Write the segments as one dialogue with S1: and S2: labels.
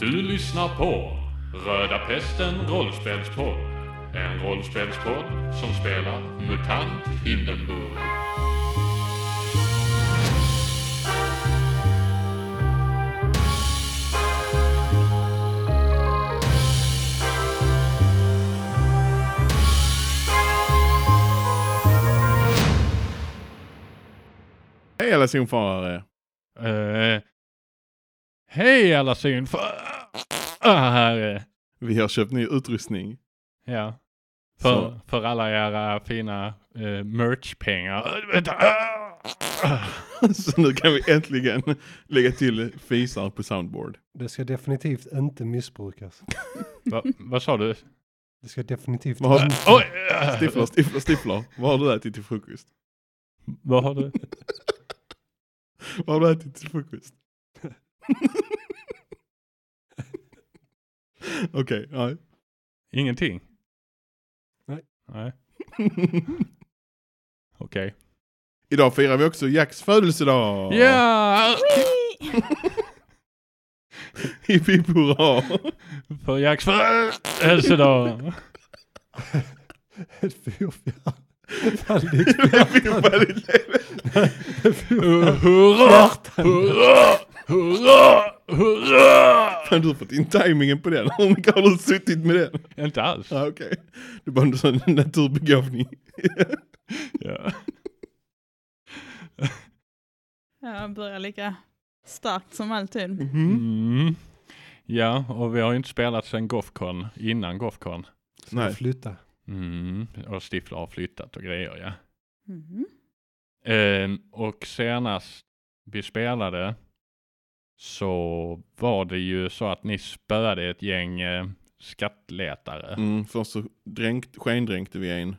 S1: Du lyssnar på Röda Pesten Rollspelspodd. En rollspelspodd som spelar MUTANT Hindenburg.
S2: Hej alla zonfarare!
S3: Eh, Hej alla ah, synfarare!
S2: Vi har köpt ny utrustning.
S3: Ja,
S2: Så,
S3: för, för alla era fina eh, merchpengar. Vänta.
S2: så nu kan vi äntligen lägga till fisar på soundboard.
S4: Det ska definitivt inte missbrukas.
S3: Va, vad sa du?
S4: Det ska definitivt
S2: Vad har-
S4: inte...
S3: Oj!
S2: Stifflar, stifflar, stifflar. Vad har du ätit till frukost?
S3: Vad har du?
S2: Vad har du ätit till frukost? Okej, nej.
S3: Ingenting?
S4: Nej.
S3: Nej, okej.
S2: Idag firar vi också Jacks födelsedag!
S3: Ja!
S2: Hipp hipp hurra!
S3: För Jacks födelsedag!
S4: Fyrfjärd. Fan, det är
S3: Hurra! Hurra! Hurra! Hurra!
S2: Fan du har fått in tajmingen på den. Hur mycket har du suttit med den?
S3: Inte alls.
S2: Ja, okej. Det var en sån naturbegåvning.
S3: Ja.
S5: Jag börjar lika starkt som alltid.
S2: Mhm.
S3: Mm. Ja, och vi har ju inte spelat sedan Gothcon, innan Gothcon.
S4: Nej.
S2: Nej.
S4: Flytta.
S3: Mm. Och Stifler har flyttat och grejer ja.
S5: Mhm.
S3: Ehm, och senast vi spelade så var det ju så att ni spöade ett gäng eh, skattletare.
S2: Mm, först så dränkt, skendränkte vi en.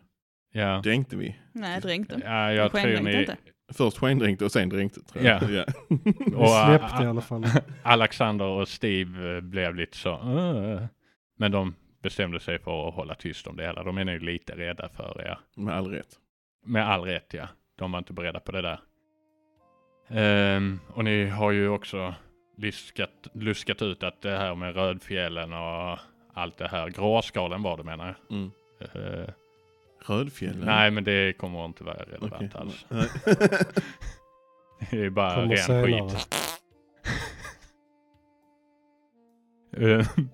S3: Ja.
S2: Dränkte vi?
S5: Nej, dränkte.
S3: ja,
S5: Jag
S3: jag tror
S5: skendränkte
S3: ni...
S5: inte.
S2: Först skendränkte och sen dränkte tror jag.
S3: Ja.
S2: Ja.
S4: Vi
S3: Och, äh,
S4: släppte i alla fall.
S3: Alexander och Steve eh, blev lite så... "Åh." men de bestämde sig för att hålla tyst om det hela. De är nu lite rädda för er.
S2: Med all rätt.
S3: Med all rätt ja. De var inte beredda på det där. Ehm, och ni har ju också luskat, luskat ut att det här med rödfjällen och allt det här. Gråskalen var det menar jag.
S2: Mm.
S3: Ehm,
S2: Rödfjällen?
S3: nej men det kommer inte vara relevant
S2: Okej.
S3: alls.
S2: Nej.
S3: Det är bara
S4: Kommer
S3: ren
S4: senare.
S3: skit. Ehm,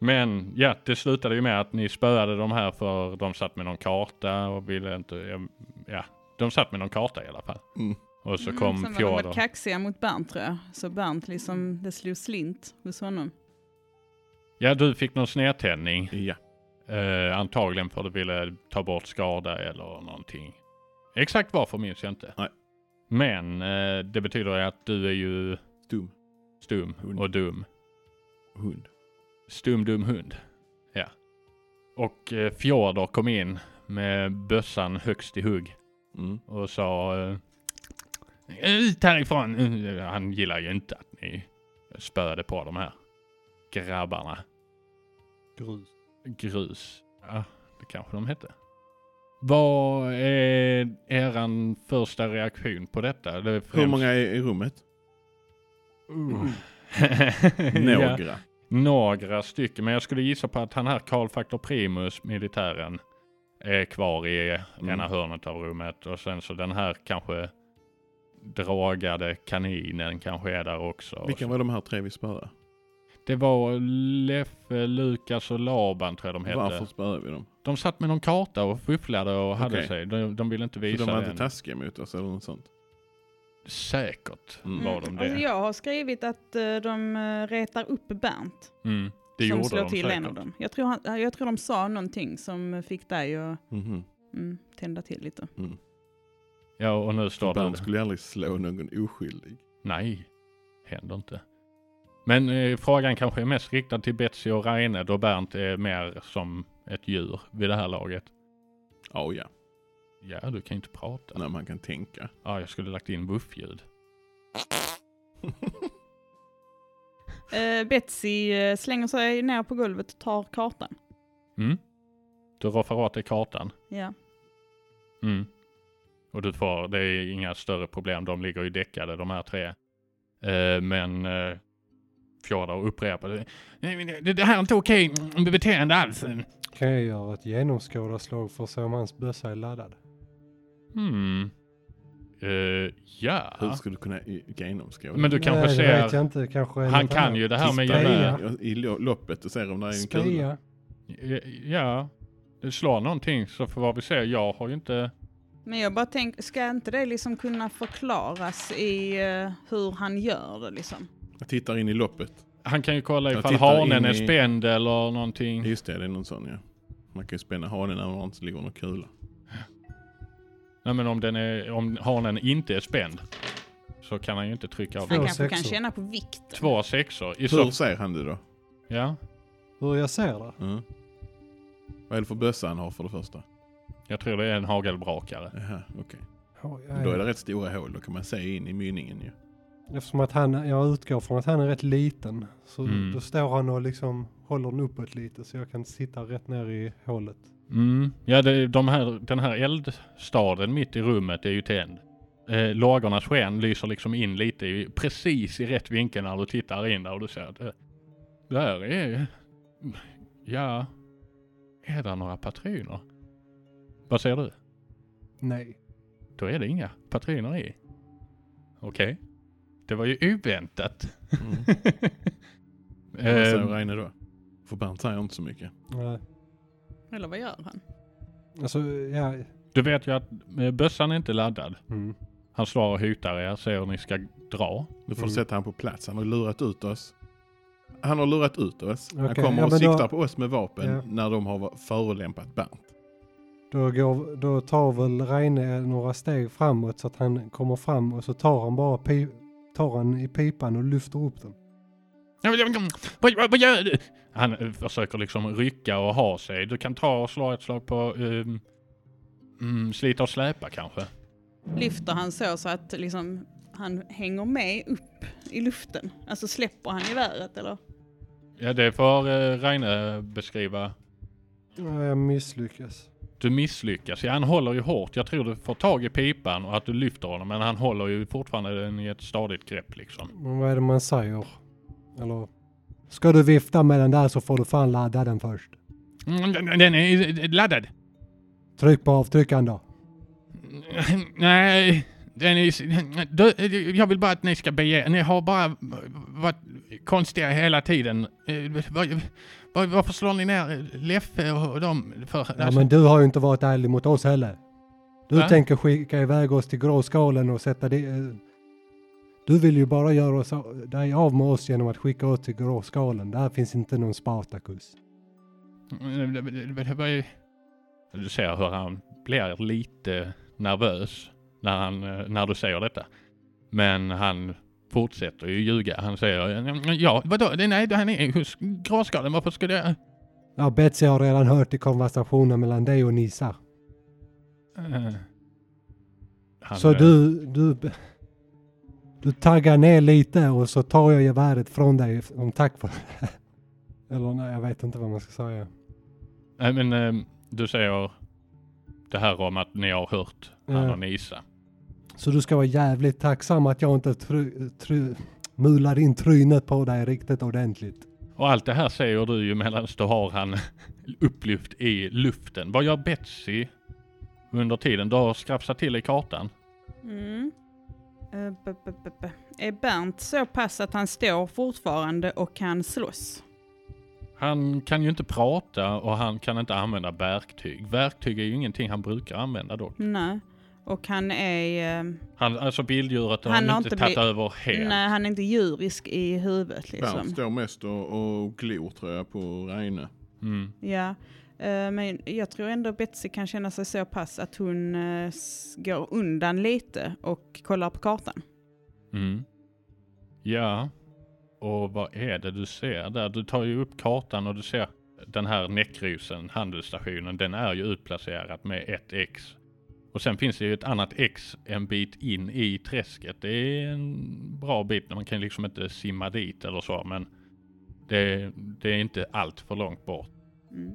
S3: men ja, det slutade ju med att ni spöade de här för de satt med någon karta och ville inte, ja, de satt med någon karta i alla fall.
S2: Mm.
S3: Och så
S5: Mm,
S3: kom
S5: Sen var de
S3: Fjodor.
S5: varit kaxiga mot Bernt tror jag. Så Bernt liksom, det slog slint hos honom.
S3: Ja, du fick någon snedtändning.
S2: Ja.
S3: Eh, antagligen för att du ville ta bort skada eller någonting. Exakt varför minns jag inte.
S2: Nej.
S3: Men eh, det betyder ju att du är ju
S2: Stum
S3: stum
S2: Hund.
S3: och dum.
S2: hund.
S3: Stum, dum hund. Ja. Och eh, Fjodor kom in med bössan högst i hugg
S2: Mm.
S3: och sa eh, Ut härifrån! Eh, Han gillar ju inte att ni spöade på de här grabbarna.
S4: Grus.
S3: grus. Ja, det kanske de hette. Vad är eran första reaktion på detta? Det är
S2: Hur
S3: främst-
S2: många är i rummet?
S3: Uh.
S2: Några.
S3: ja, några stycken, men jag skulle gissa på att han här Karl Faktor Primus, militären, är kvar i
S2: Mm.
S3: ena hörnet av rummet och sen så den här kanske dragade kaninen kanske är där också. Och
S2: Vilka
S3: så-
S2: var de här tre vi spöade?
S3: Det var Leffe, Lukas och Laban tror jag de hette.
S2: Varför spöade vi dem?
S3: De satt med någon karta och fufflade och hade
S2: Okej.
S3: sig. De, de ville inte
S2: För
S3: visa
S2: de var
S3: det
S2: inte
S3: än.
S2: taskiga mot oss eller något sånt?
S3: Säkert
S2: Mm.
S3: var de det.
S5: Alltså jag har skrivit att eh, de eh, retar upp Bernt.
S3: mm. Det
S5: som
S3: gjorde
S5: slår
S3: de
S5: till
S3: säkert.
S5: en av dem. Jag tror, han, jag tror de sa någonting som fick dig att
S2: Mhm.
S5: mm, tända till lite.
S2: Mm.
S3: Ja, och nu står
S2: Bernt
S3: det...
S2: skulle aldrig slå någon oskyldig.
S3: Nej, händer inte. Men eh, frågan kanske är mest riktad till Betsy och Reine då Bernt är mer som ett djur vid det här laget.
S2: Ja, ja.
S3: Ja, du kan ju inte prata.
S2: När man kan tänka.
S3: Ja, jag skulle lagt in buffljud.
S5: Eh, Betsy eh, slänger sig ner på golvet och tar kartan.
S3: Mm. Du roffar åt dig kartan.
S5: Ja.
S3: Mm. Och du får, det är inga större problem. De ligger ju däckade de här tre. Eh, men eh, Fjodor och upprepade. "Nej, men Det, det här är inte okej mm, beteende alls.
S4: Kan jag göra ett genomskådarslag för att se om hans bössa är laddad?
S3: Hmm. Eh, ja.
S2: Hur skulle du kunna i- genomskåda?
S3: Men du kanske
S4: Nej, det vet jag
S3: ser.
S4: inte. Kanske är
S3: Han
S4: något
S3: kan
S4: annat.
S3: ju det här med
S4: Tisdag.
S3: gener.
S4: Ja.
S2: I lo- loppet och ser om det är en kula.
S4: Speja.
S3: Ja. Slå någonting så får vad vi ser. Jag har ju inte.
S5: Men jag bara tänker, ska inte det liksom kunna förklaras i eh, hur han gör det liksom?
S2: Jag tittar in i loppet.
S3: Han kan ju kolla
S2: Jag
S3: ifall
S2: tittar
S3: hanen
S2: in
S3: är
S2: i-
S3: spänd eller någonting.
S2: Just det, det är någon sån ja. Man kan ju spänna hanen när det inte ligger någon kula.
S3: Nej men om, den är, om hanen inte är spänd så kan han ju inte trycka av
S5: Han
S3: den.
S4: Två
S5: kanske kan
S4: sexor.
S5: känna på vikten.
S3: Två sexor. I
S2: Hur
S3: så,
S2: ser han det då?
S3: ja,
S4: Hur jag ser det?
S2: Mm. Vad är det för bössa han har för det första?
S3: jag tror det är en hagelbrakare.
S2: Jaha, okej.
S4: Ja,
S2: Men Då är
S4: jag,
S2: det rätt stora hål, då kan man se in i mynningen ju.
S4: eftersom att han, jag utgår från att han är rätt liten. Så
S3: Mm.
S4: då står han och liksom håller den uppåt lite så jag kan sitta rätt ner i hålet.
S3: Mm. Ja, det, de här, den här eldstaden mitt i rummet är ju tänd. Eh, lagornas sken lyser liksom in lite i, precis i rätt vinkel när du tittar in där och du ser att eh, där är... Ja, är där några patroner? Vad säger du?
S4: Nej.
S3: Då är det inga patroner i. Okej. Det var ju oväntat.
S2: Mm. Vad säger
S3: Eh,
S2: Reine då? För Bernt säger inte så mycket.
S4: Nej.
S5: Eller vad gör han?
S4: Alltså, ja.
S3: du vet ju att eh, bössan är inte laddad.
S4: Mm.
S3: Han slår och hotar er, säger hur ni ska dra.
S2: Nu får
S4: Mm.
S2: du sätta han på plats. Han har lurat ut oss. Han har lurat ut oss. Han
S4: Okej,
S2: kommer
S4: ja,
S2: och
S4: men då-
S2: siktar på oss med vapen
S4: Ja.
S2: när de har va- förolämpat Bernt.
S4: Då, går, då tar väl Reine några steg framåt så att han kommer fram och så tar han bara pi, tar han i pipan och lyfter upp den.
S3: Ja, men, men, Vad, vad, vad gör du? Han eh, försöker liksom rycka och ha sig. Du kan ta och slå ett slag på ehm, mm, slita och släpa kanske.
S5: Lyfter han så, så att liksom han hänger med upp i luften? Alltså släpper han geväret eller?
S3: Ja, det får eh, Reine beskriva.
S4: Ja, jag misslyckas.
S3: Du misslyckas. Ja, han håller ju hårt. Jag tror du får tag i pipan och att du lyfter honom. Men han håller ju fortfarande den i ett stadigt grepp liksom.
S4: Men vad är det man säger? Eller? Ska du vifta med den där så får du fan ladda den först.
S3: Mm, den- den är laddad.
S4: Tryck på avtryckaren då.
S3: Nej, den är, du, jag vill bara att ni ska bege Ni har bara varit konstiga hela tiden. Eh, var- var- Varför slår ni ner Leffe och dem för?
S4: Ja,
S3: Alltså,
S4: men du har ju inte varit ärlig mot oss heller. Du
S3: Va?
S4: tänker skicka iväg oss till gråskalen och sätta det... eh, Du vill ju bara göra oss, dig av med oss genom att skicka oss till gråskalen. Där finns inte någon Spartacus.
S3: Du ser hur han blir lite nervös när, han, eh, när du säger detta. Men han fortsätter ju ljuga. Han säger ja, vadå? Nej, han är hos gråskalen. Varför skulle jag?
S4: Ja, Betsy har redan hört i konversationen mellan dig och Nissa.
S3: Eh. Han,
S4: Så
S3: eh,
S4: du, du... Du taggar ner lite och så tar jag geväret från dig som tack för det. Eller nej, jag vet inte vad man ska säga.
S3: Nej men ehm, du säger det här om att ni har hört han
S4: Ja.
S3: och Nisa.
S4: Så du ska vara jävligt tacksam att jag inte tru, tru, mular in trynet på dig riktigt ordentligt.
S3: Och allt det här säger du ju medan du har han upplyft i luften. Vad gör Betsy under tiden? Du har skrafsat till i kartan.
S5: Mm. Eh, b- b- b- b- Är Bernt så pass att han står fortfarande och kan slåss?
S3: Han kan ju inte prata och han kan inte använda verktyg. Verktyg är ju ingenting han brukar använda dock.
S5: Nej. Och han är... eh,
S3: Han, alltså bilddjuret har
S5: Han
S3: han
S5: har
S3: inte
S5: inte
S3: tagit
S5: bli-
S3: över helt.
S5: Nej, han är inte djurisk i huvudet
S2: Bernt
S5: liksom.
S2: står mest och, och glor tror jag på Reine.
S3: Mm.
S5: Ja. Eh, Men jag tror ändå Betsy kan känna sig så pass att hon eh, s- går undan lite och kollar på kartan.
S3: Mm. Ja. Och vad är det du ser där? Du tar ju upp kartan och du ser den här Näckrosen, handelsstationen, den är ju utplacerad med ett X. Och sen finns det ju ett annat X en bit in i träsket. Det är en bra bit, man kan liksom inte simma dit eller så, men det, det är inte allt för långt bort.
S5: Mm.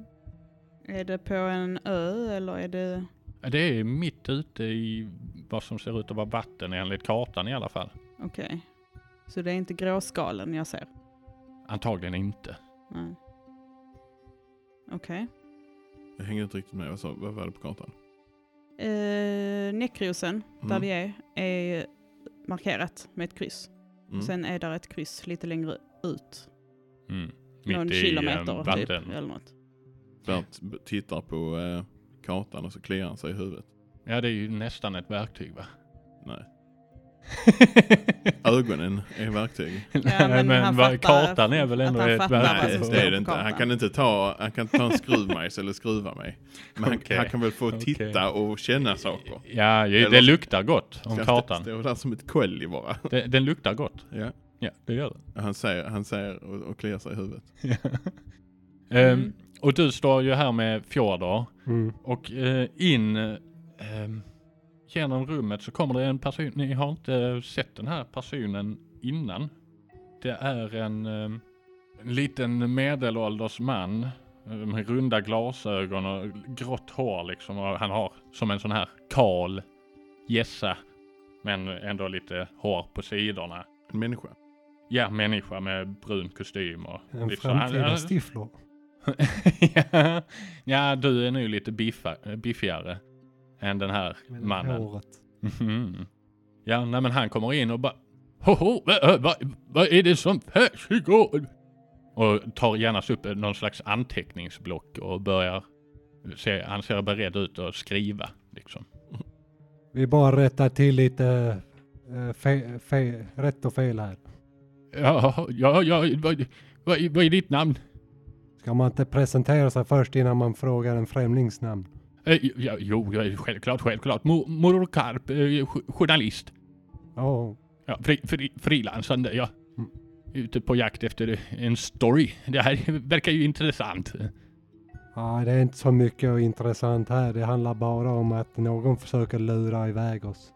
S5: Är det på en ö eller är det...
S3: Det är mitt ute i vad som ser ut att vara vatten enligt kartan i alla fall.
S5: Okej. Så det är inte gråskalen jag ser.
S3: Antagligen inte.
S5: Nej. Okej.
S2: Jag hänger inte riktigt med. Vad sa- Vad var det på kartan?
S5: Eh, nekrosen, där
S2: Mm.
S5: vi är, är markerat med ett kryss.
S2: Mm.
S5: Sen är där ett kryss lite längre ut.
S3: Mm.
S5: någon
S3: eh,
S5: kilometer typ,
S3: vatten.
S5: eller något.
S2: Bert b- tittar på eh, kartan och så kliar han sig i huvudet.
S3: Ja, det är ju nästan ett verktyg va?
S2: Nej. Ögonen är verktyg.
S5: Ja,
S3: Nej,
S5: men
S3: men
S5: han
S3: va-
S5: fattar
S3: kartan är väl
S5: att
S3: ändå
S5: han
S3: ett
S5: fattar vad
S2: Nej,
S5: som
S2: det
S5: alltså, står
S2: är
S3: verktyg?
S2: det
S5: på
S2: inte. Han
S5: kartan.
S2: kan inte ta, han kan inte ta en skruvmejs eller skruva mig. Men han,
S3: Okej.
S2: han kan väl få
S3: Okej.
S2: titta och känna saker.
S3: Ja, ju-
S2: Eller-
S3: det luktar gott om
S2: Ska
S3: kartan.
S2: Stå där som ett kolli bara.
S3: Den, den luktar gott.
S2: Ja.
S3: Ja, det gör den.
S2: Han säger, han säger och, och kliar sig i huvudet.
S3: Ehm,
S5: Mm.
S3: och du står ju här med Fjodor
S4: Mm.
S3: och eh, in eh, ehm, genom rummet så kommer det en person. Ni har inte sett den här personen innan. Det är en, ehm, en liten medelålders man eh, med runda glasögon och grått hår liksom. Och han har som en sån här kal gässa men ändå lite hår på sidorna.
S2: En människa.
S3: Ja, människa med brun kostym och
S4: En
S3: lite så. alltså, Han-
S4: framtida
S3: han-
S4: stifflor.
S3: ja, ja, du är nu lite biffa, eh, biffigare än den här
S4: Med det
S3: mannen.
S4: Håret.
S3: Mhm. Ja, nej men han kommer in och bara Hoho, vad va, va vad är det som försiggår? Och tar gärna upp någon slags anteckningsblock och börjar se, han ser beredd ut att skriva liksom.
S4: Vi bara rättar till lite eh, fe, fe, rätt och fel här.
S3: Ja, ja, ja, vad, vad, vad är ditt namn?
S4: Ska man inte presentera sig först innan man frågar en främlingsnamn?
S3: Eh, Ja, jo, ja, självklart, självklart. Mo- Moror Karp, eh, jo- journalist.
S4: Ja,
S3: Ja, fri, fri, frilansande, ja.
S4: Mm.
S3: Ute på jakt efter en story. Det här verkar ju intressant.
S4: ja, det är inte så mycket och intressant här. Det handlar bara om att någon försöker lura iväg oss.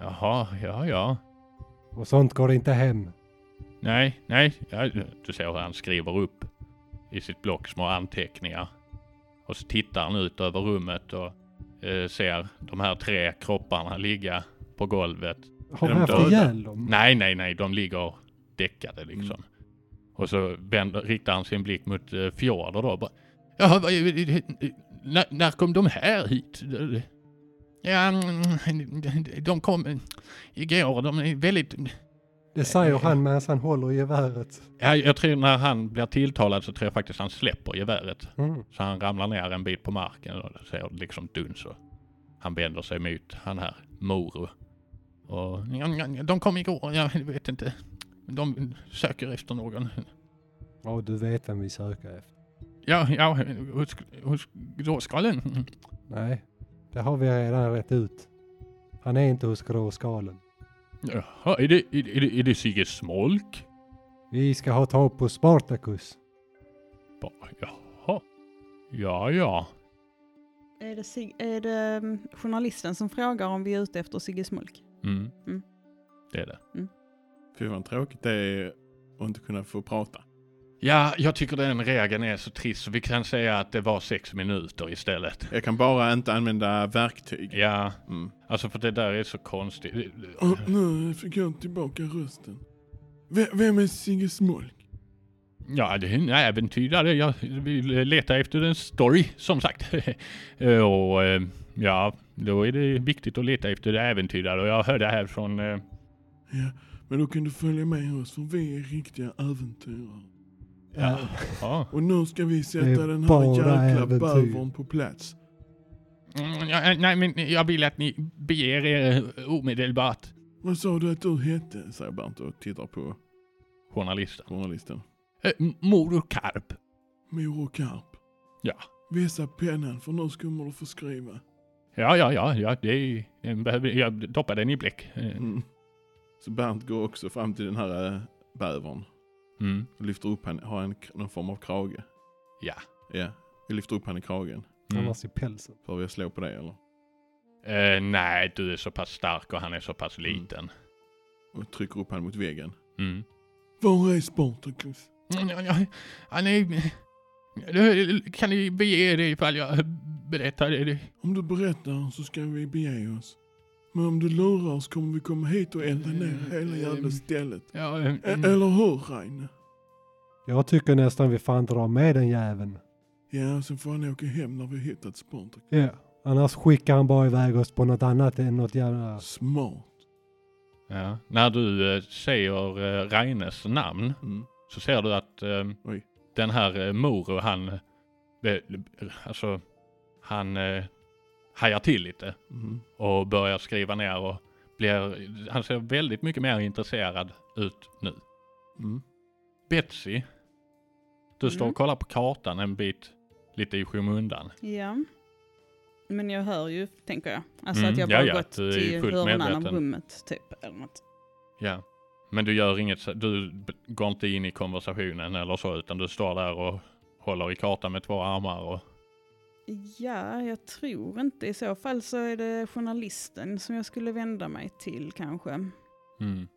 S3: Jaha, ja, ja.
S4: Och sånt går inte hem.
S3: Nej, nej. Ja, du ser hur han skriver upp i sitt block små anteckningar. Och så tittar han ut över rummet och eh, ser de här tre kropparna ligga på golvet.
S4: Har
S2: Är
S4: vi
S2: de
S4: haft
S2: döda?
S4: ihjäl dem?
S3: Nej, nej, nej. De ligger däckade liksom. Och så vänder, riktar han sin blick mot eh, Fjorder då. och Bara, Jaha, vad, när, när kom de här hit? Ja, mm, de kom igår. De är väldigt...
S4: Det säger han medan han håller i geväret.
S3: Ja, jag tror när han blir tilltalad så tror jag faktiskt han släpper geväret.
S4: Mm.
S3: Så han ramlar ner en bit på marken och det ser liksom duns och han vänder sig mot han här Moro. Och "Ja, ja, de kom igår, jag vet inte. De söker efter någon.
S4: Ja, du vet vem vi söker efter.
S3: Ja, ja, hos, hos gråskallen.
S4: Nej, det har vi redan rätt ut. Han är inte hos gråskalen.
S3: Jaha, är det, är, det- är det, är det Sigge Smolk?
S4: Vi ska ha tag på Spartacus.
S3: Ba- Jaha. Ja, ja.
S5: Är det, Sig- är det mm, journalisten som frågar om vi är ute efter Sigge Smolk?
S3: Mm.
S5: Mm.
S3: Det är det.
S2: Fy vad tråkigt det är att inte kunna få prata.
S3: Ja, jag tycker den regeln är så trist så vi kan säga att det var sex minuter istället.
S2: Jag kan bara inte använda verktyg.
S3: Ja,
S2: Mm.
S3: alltså för det där är så konstigt.
S2: nu fick jag tillbaka rösten. vem är Sigge Smolk?
S3: Ja, det är en äventyrare. Jag vill eh, leta efter en story, som sagt. Eh, och eh, ja, då är det viktigt att leta efter äventyrare. Och jag hörde här från... eh,
S2: Ja, men då kan du följa med oss för vi är riktiga äventyrare.
S3: Ja.
S4: Mm.
S3: Ja,
S2: Och nu ska vi
S4: Det är bara äventyr.
S2: på plats.
S3: Mm, ja, nej, men jag vill att ni beger er eh, omedelbart.
S2: Vad sa du att du hette? Säger Bernt och tittar på
S3: Journalisten.
S2: journalisten.
S3: Eh, Moro Karp.
S2: Mor och Karp.
S3: Ja.
S2: Vässa pennan för nu kommer du få skriva.
S3: Ja, ja, ja, ja det är, den behöver, jag doppar den i bläck. Eh,
S2: Mm. Så Bernt går också fram till den här äh, bävern.
S3: Mm.
S2: Och lyfter upp han, har en, någon form av krage.
S3: Ja.
S2: Ja, vi lyfter upp han i kragen.
S3: Mm.
S4: Annars i pälsen.
S2: Får vi slå på det eller?
S3: Eh, nej, du är så pass stark och han är så pass
S2: Mm.
S3: liten.
S2: Och trycker upp han mot väggen.
S3: Mm.
S2: Var är Spartacus?
S3: Ja, ja, Han är... Nu Kan ni bege er ifall jag berättar det?
S2: Om du berättar så ska vi bege oss. Men om du lurar oss kommer vi komma hit och elda ner hela jävla stället.
S3: Ja, eh,
S2: E-
S3: mm,
S2: eller hur Reine?
S4: Jag tycker nästan vi fan drar med den jäveln.
S2: Ja, sen får han åka hem när vi hittat Spartak.
S4: Ja. Annars skickar han bara iväg oss på något annat än något jävla...
S2: Smart.
S3: Ja. När du eh, säger eh, Reines namn
S2: Mm.
S3: så ser du att eh,
S2: Oj.
S3: den här eh, Moro han, eh, alltså, han eh, hajar till lite
S2: Mm.
S3: och börjar skriva ner och blir, han ser väldigt mycket mer intresserad ut nu.
S2: Mm.
S3: Betsy, du står
S5: Mm.
S3: och kollar på kartan en bit lite i skymundan.
S5: Ja. Men jag hör ju, tänker jag. Alltså
S3: Mm,
S5: att jag
S3: ja,
S5: bara
S3: ja,
S5: gått
S3: du är ju
S5: till
S3: fullt
S5: hörnan av
S3: medveten.
S5: rummet, typ. Eller något.
S3: Ja. Men du gör inget, så- du b- går inte in i konversationen eller så, utan du står där och håller i kartan med två armar och
S5: Ja, jag tror inte. I så fall så är det journalisten som jag skulle vända mig till kanske.
S3: Mm.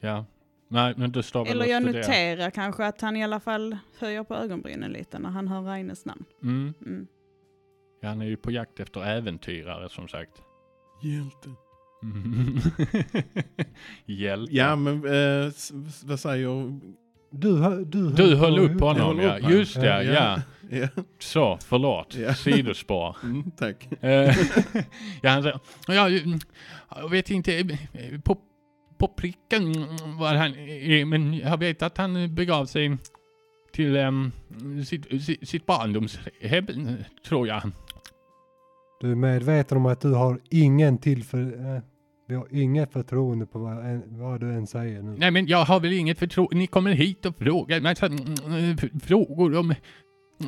S3: Ja. Nej, men du står väl
S5: Eller
S3: och
S5: jag
S3: studerar.
S5: noterar kanske att han i alla fall höjer på ögonbrynen lite när han hör Reines namn.
S3: Mm.
S5: Mm.
S3: Ja, han är ju på jakt efter äventyrare som sagt.
S2: Hjälte.
S3: Mm. Hjältar.
S2: Ja, men eh, s- s- vad säger...
S4: Du, hö- du,
S3: Du höll
S4: på-
S3: upp
S2: Jag
S3: honom
S2: håller
S3: ja,
S2: upp han.
S3: just det,
S2: Ja.
S3: ja.
S2: Ja,
S3: Så, förlåt.
S2: Ja.
S3: Sidospår.
S2: mm, tack.
S3: Eh, ja, han säger, ja, mm, jag vet inte eh, på, på pricken mm, var han är, men jag vet att han begav sig till em, sitt, sitt, sitt barndomshem, tror jag.
S4: Du är medveten om att du har ingen tillför... eh, Vi har inget förtroende på vad, en- vad du än säger nu.
S3: Nej men jag har väl inget förtroende. Ni kommer hit och frågar en massa mm, f- frågor om...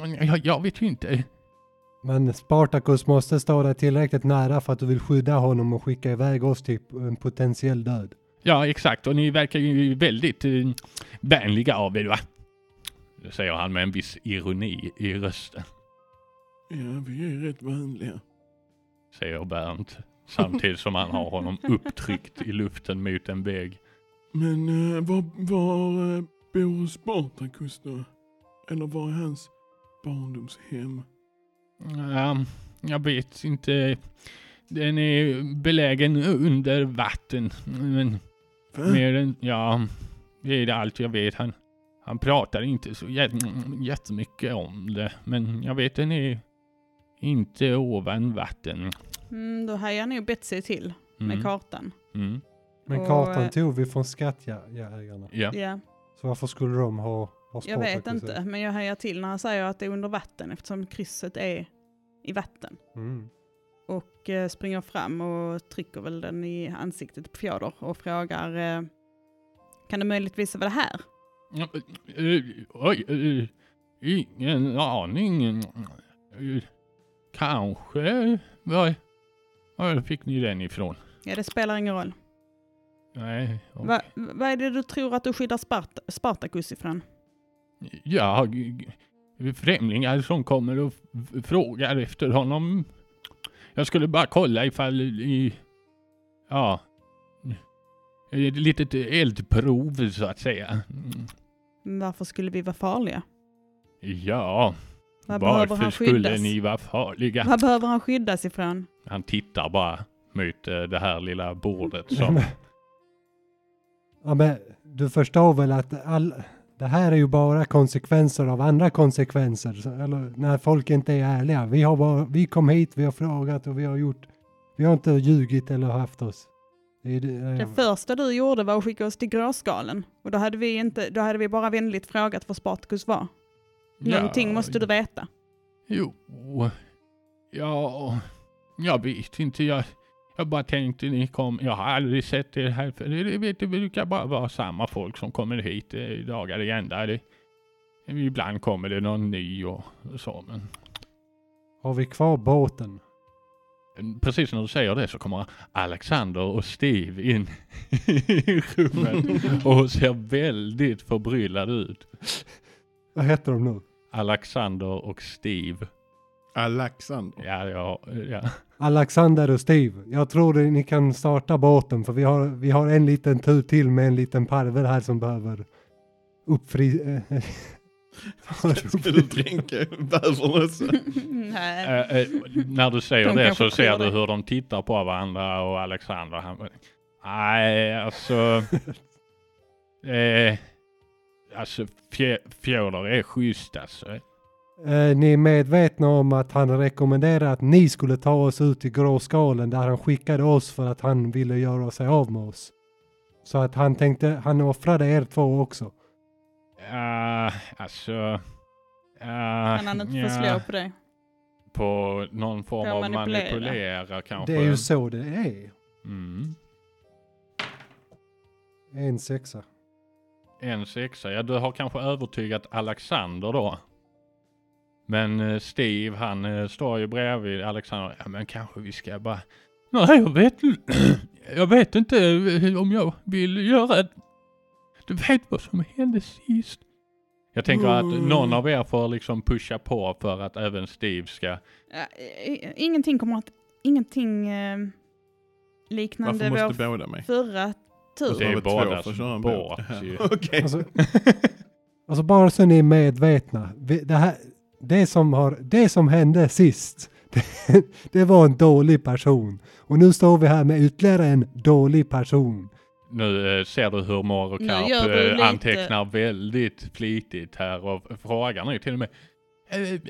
S3: Mm, Jag, jag vet ju inte.
S4: Men Spartacus måste stå dig tillräckligt nära för att du vill skydda honom och skicka iväg oss till en potentiell död.
S3: Ja exakt och ni verkar ju väldigt eh, vänliga av er va? Det säger han med en viss ironi i rösten.
S2: Ja, vi är rätt vanliga.
S3: Säger Bernt. Samtidigt som han har honom upptryckt i luften mot en vägg.
S2: Men eh, var, var eh, bor Spartacus då? Eller var är hans barndomshem?
S3: Ja, jag vet inte. Den är belägen under vatten. Men
S2: Va?
S3: Mer än, ja, det är allt jag vet. Han, han pratar inte så jät- jättemycket om det. Men jag vet den är inte ovan vatten. Mm.
S5: Mm, då hajar nog Betsy till med kartan.
S3: Mm.
S4: Men
S5: Och, eh,
S4: kartan tog vi från skattjägarna.
S3: Ja.
S5: Ja,
S4: Så varför skulle de ha, ha
S5: jag vet
S4: Spartacus?
S5: inte, men jag hajar till när han säger att det är under vatten eftersom krysset är i vatten.
S4: Mm.
S5: Och eh, springer fram och trycker väl den i ansiktet på Fjodor och frågar eh, kan det möjligtvis vara det här?
S3: Ja, eh, Oj, eh, ingen aning. Eh, Kanske. Var, var fick ni den ifrån?
S5: Ja, det spelar ingen roll.
S3: Nej. och-
S5: Va, vad är det du tror att du skyddar Sparta, Spartacus ifrån?
S3: Ja, g- g- främlingar som kommer och f- frågar efter honom. Jag skulle bara kolla ifall i... Ja. Ett litet eldprov så att säga. Mm.
S5: Varför skulle vi vara farliga?
S3: Ja,
S5: Vad behöver
S3: varför
S5: han
S3: skulle
S5: skyddas?
S3: ni vara farliga?
S5: Vad behöver han skyddas ifrån?
S3: Han tittar bara mot eh, det här lilla bordet som...
S4: Ja, men du förstår väl att all, det här är ju bara konsekvenser av andra konsekvenser. Så- Eller när folk inte är ärliga. Vi, har bara, vi kom hit, vi har frågat och vi har gjort. Vi har inte ljugit eller haft oss. Det är, det, eh,
S5: Det första du gjorde var att skicka oss till gråskalen. Och då hade vi, inte, då hade vi bara vänligt frågat vad Spartacus var. Någonting
S3: Ja,
S5: måste du veta.
S3: Jo, ja, jag vet inte. Jag, jag bara tänkte ni kom. Jag har aldrig sett er här för det, vet, det brukar bara vara samma folk som kommer hit eh, dagar i ända. Det, ibland kommer det någon ny och så. Men
S4: har vi kvar båten?
S3: precis när du säger det så kommer Alexander och Steve in i rummet och ser väldigt förbryllade ut.
S4: Vad heter de nu?
S3: Alexander och Steve.
S2: Alexander.
S3: Ja, ja, ja.
S4: Alexander och Steve. Jag tror att ni kan starta båten för vi har, vi har en liten tur till med en liten parvel här som behöver uppfri... eh,
S2: Ska du dränka bävern också?
S5: Nej.
S3: Eh, eh, när du säger
S5: De
S3: det
S5: kanske
S3: så ser
S5: tror
S3: du
S5: det.
S3: hur de tittar på varandra och Alexander han bara, Nej, alltså... eh, Alltså fjä, Fjodor är schysst alltså.
S4: Eh, ni är medvetna om att han rekommenderade att ni skulle ta oss ut till gråskalen där han skickade oss för att han ville göra sig av med oss. Så att han tänkte, han offrade er två också.
S3: Uh, alltså... Uh,
S2: eh,
S5: Kan han inte få slå på det?
S3: på någon form
S5: Ja,
S3: av manipulera,
S5: manipulera.
S3: kanske.
S4: Det är ju så det är.
S3: mm.
S4: En sexa.
S3: En sexa. Ja, du har kanske övertygat Alexander då. Men eh, Steve, han eh, står ju bredvid Alexander. Ja, men kanske vi ska bara... Nej, jag vet, jag vet inte eh, om jag vill göra det. Du vet vad som hände sist. Jag tänker att
S2: Mm.
S3: någon av er får liksom pusha på för att även Steve ska...
S5: Ja, i- i- ingenting kommer att... Ingenting eh, liknande
S2: Varför
S5: vår
S2: måste båda mig?
S5: förra tur.
S3: Det är
S2: behöver två
S3: bådas
S2: för att köra en båt.
S3: båt ju.
S2: Okej.
S4: Alltså, alltså bara så ni är medvetna. Vi- Det, här, det, som, har, det som hände sist, det, det var en dålig person. Och nu står vi här med ytterligare en dålig person.
S3: Nu eh, ser du hur Maro
S5: Nu
S3: Karp
S5: gör du
S3: eh,
S5: lite-
S3: antecknar väldigt flitigt här och frågar nu till och med. eh,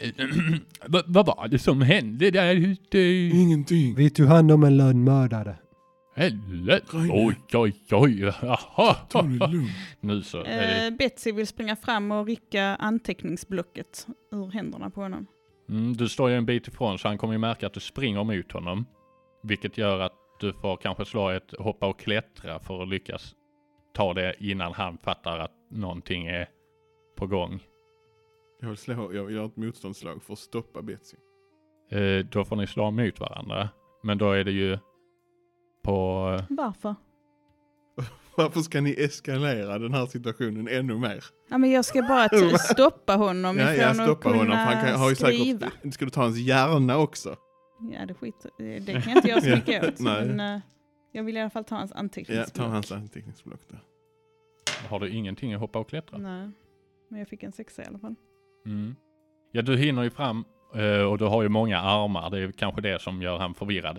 S3: Vad vad var det som hände där ute?
S2: Ingenting.
S4: Vi tog hand om en lönnmördare.
S3: Helvete.
S2: Reine.
S3: Oj, oj, oj. Jaha.
S2: Ta det lugnt.
S3: Nu så. är det-
S5: Eh, Betsy vill springa fram och rycka anteckningsblocket ur händerna på honom.
S3: Mm, du står ju en bit ifrån så han kommer ju märka att du springer mot honom. Vilket gör att du får kanske slå ett hoppa och klättra för att lyckas ta det innan han fattar att någonting är på gång.
S2: Jag vill slå, jag vill göra ett motståndslag för att stoppa Betsy.
S3: Eh, då får ni slå mot varandra. Men då är det ju på...
S5: Varför?
S2: Varför ska ni eskalera den här situationen ännu mer?
S5: Ja, men jag ska bara t- stoppa honom
S2: Ja,
S5: ifrån
S2: jag
S5: att
S2: stoppar
S5: kunna
S2: honom, för han kan, har ju
S5: skriva.
S2: säkert... Ska du ta hans hjärna också?
S5: Ja, det, skit, det kan inte jag så mycket
S2: Ja,
S5: åt.
S2: nej.
S5: Men eh, jag vill i alla fall ta hans
S2: Ja, ta
S5: anteckningsblock.
S2: hans anteckningsblock där.
S3: Har du ingenting att hoppa och klättra?
S5: Nej, men jag fick en sexa i alla fall.
S3: Mm. Ja, du hinner ju fram eh, och du har ju många armar. Det är kanske det som gör han förvirrad.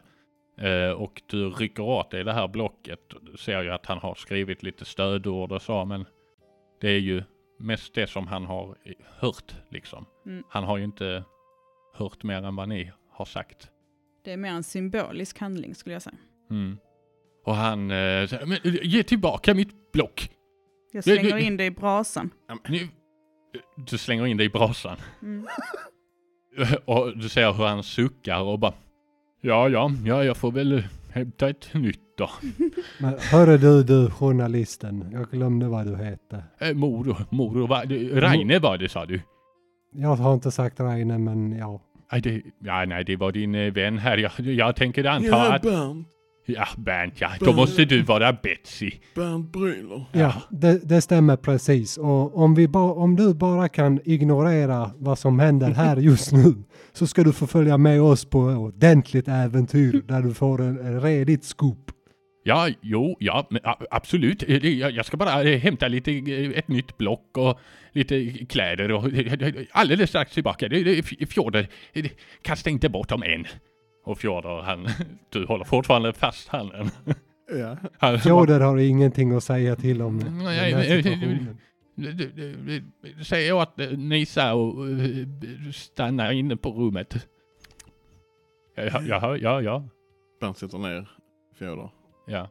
S3: Eh, och du rycker åt dig det här blocket. Du ser ju att han har skrivit lite stödord och så, men det är ju mest det som han har i- hört liksom.
S5: Mm.
S3: Han har ju inte hört mer än vad ni har sagt.
S5: Det är mer en symbolisk handling skulle jag säga.
S3: Mm. Och han eh, säger, men eh, ge tillbaka mitt block.
S5: Jag
S3: Ja, ja,
S5: slänger
S3: ja.
S5: in det i brasan.
S3: Nu. Du slänger in det i brasan.
S5: Mm.
S3: Och du ser hur han suckar och bara Ja, ja, ja, jag får väl hämta ett nytt då.
S4: Men hörru du, du journalisten. Jag glömde vad du hette.
S3: Eh, Moro, Moro, va, det- Reine var det sa du?
S4: Jag har inte sagt Reine, men ja.
S3: Nej, det, ja, nej, det var din eh, vän här. Jag, jag tänker anta
S2: Ja,
S3: att...
S2: Bernt.
S3: Ja, Bernt ja. Då
S2: Bernt.
S3: måste du vara Betsy.
S2: Bernt Brüller.
S4: Ja, det, det stämmer precis. Och om, vi ba, om du bara kan ignorera vad som händer här just nu så ska du få följa med oss på ett ordentligt äventyr där du får en, en redigt scoop.
S3: Ja, jo, ja, men, a- absolut. Eh, det- Jag jag ska bara eh, hämta lite, eh, ett nytt block och lite kläder och eh, eh, alldeles strax tillbaka. Det- det- F- Fjodor, eh, det- kasta inte bort dem än. Och Fjodor, han, du håller fortfarande fast handen.
S2: Ja.
S3: Han,
S4: Fjodor har ingenting att säga till om den
S3: Nej,
S4: här
S3: men-
S4: situationen.
S3: Du- du- du- du- Säg åt eh, Nisa och eh, stanna inne på rummet. Ja, ja, ja, ja.
S2: Bernt sätter ner Fjodor.
S3: ja.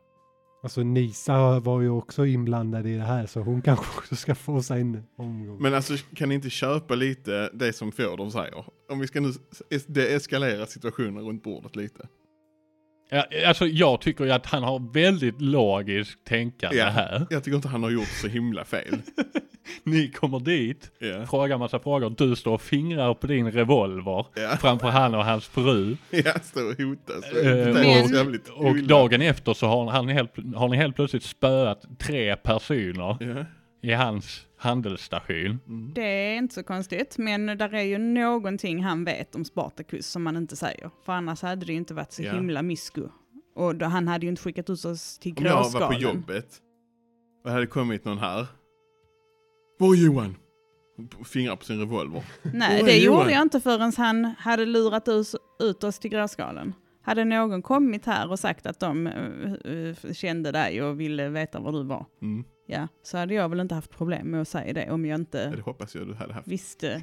S4: Alltså Nisa var ju också inblandad i det här så hon kanske också ska få sig en omgång.
S2: Men alltså kan ni inte köpa lite det som Fjodor säger? Om vi ska nu es- deeskalera situationen runt bordet lite.
S3: ja. Alltså, jag tycker ju att han har väldigt logiskt tänkande
S2: Ja.
S3: här.
S2: Jag tycker inte han har gjort så himla fel.
S3: Ni kommer dit,
S2: Ja.
S3: frågar massa frågor, du står och fingrar på din revolver
S2: Ja.
S3: framför han och hans fru.
S2: Ja, står och hotar. Så
S3: Eh,
S2: det är
S5: och-
S2: jävligt
S3: Och
S2: illa.
S3: dagen efter så har, han helt, har ni helt plötsligt spöat tre personer
S2: Ja. Mm.
S3: i hans handelsstation.
S5: Det är inte så konstigt, men där är ju någonting han vet om Spartacus som man inte säger. För annars hade det ju inte varit så
S2: Ja.
S5: himla mysko. Och då, han hade ju inte skickat ut oss till
S2: Om jag var på
S5: gråskalen.
S2: jobbet och det hade kommit någon här. Var är Johan? Fingrar på sin revolver.
S5: Nej,
S2: Oj,
S5: det
S2: Johan.
S5: gjorde jag inte förrän han hade lurat us, ut oss till gråskalen. Hade någon kommit här och sagt att de eh, eh, kände dig och ville veta var du var,
S2: Mm.
S5: Ja, så hade jag väl inte haft problem med att säga det om jag
S2: Ja,
S5: inte
S2: det hoppas jag du hade haft.
S5: visste.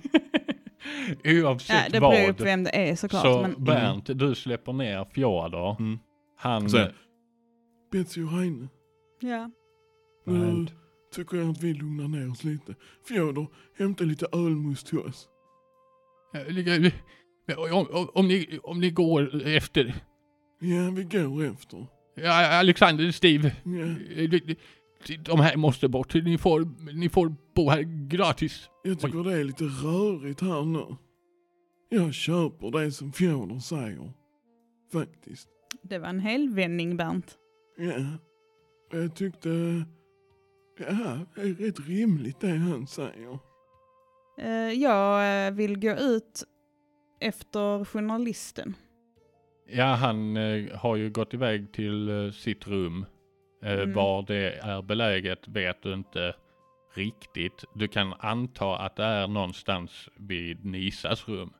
S5: Ja,
S3: Oavsett
S5: det beror ju på
S3: vad.
S5: vem det är såklart.
S3: Så
S5: men,
S3: Bernt, du släpper ner Fjodor.
S2: Mm.
S3: Han...
S2: Så här. Betsy och Heine,
S5: ja.
S2: nu
S4: Bernt.
S2: tycker jag att vi lugnar ner oss lite. Fjodor, hämta lite ölmust till oss.
S3: Om, om, om, ni, om ni går efter
S2: Ja, vi går efter.
S3: Ja, Alexander, Steve.
S2: Ja,
S3: De här måste bort. Ni får, ni får bo här gratis.
S2: jag tycker det är lite rörigt här nu. Jag köper det som Fjodor säger. Faktiskt.
S5: Det var en hel vändning Bernt.
S2: Ja. Jag tyckte... Ja, det är rätt rimligt det han säger.
S5: Eh, jag eh, vill gå ut efter journalisten.
S3: Ja, han eh, har ju gått iväg till eh, sitt rum. Eh,
S5: Mm.
S3: Var det är beläget vet du inte riktigt. Du kan anta att det är någonstans vid Nisas rum.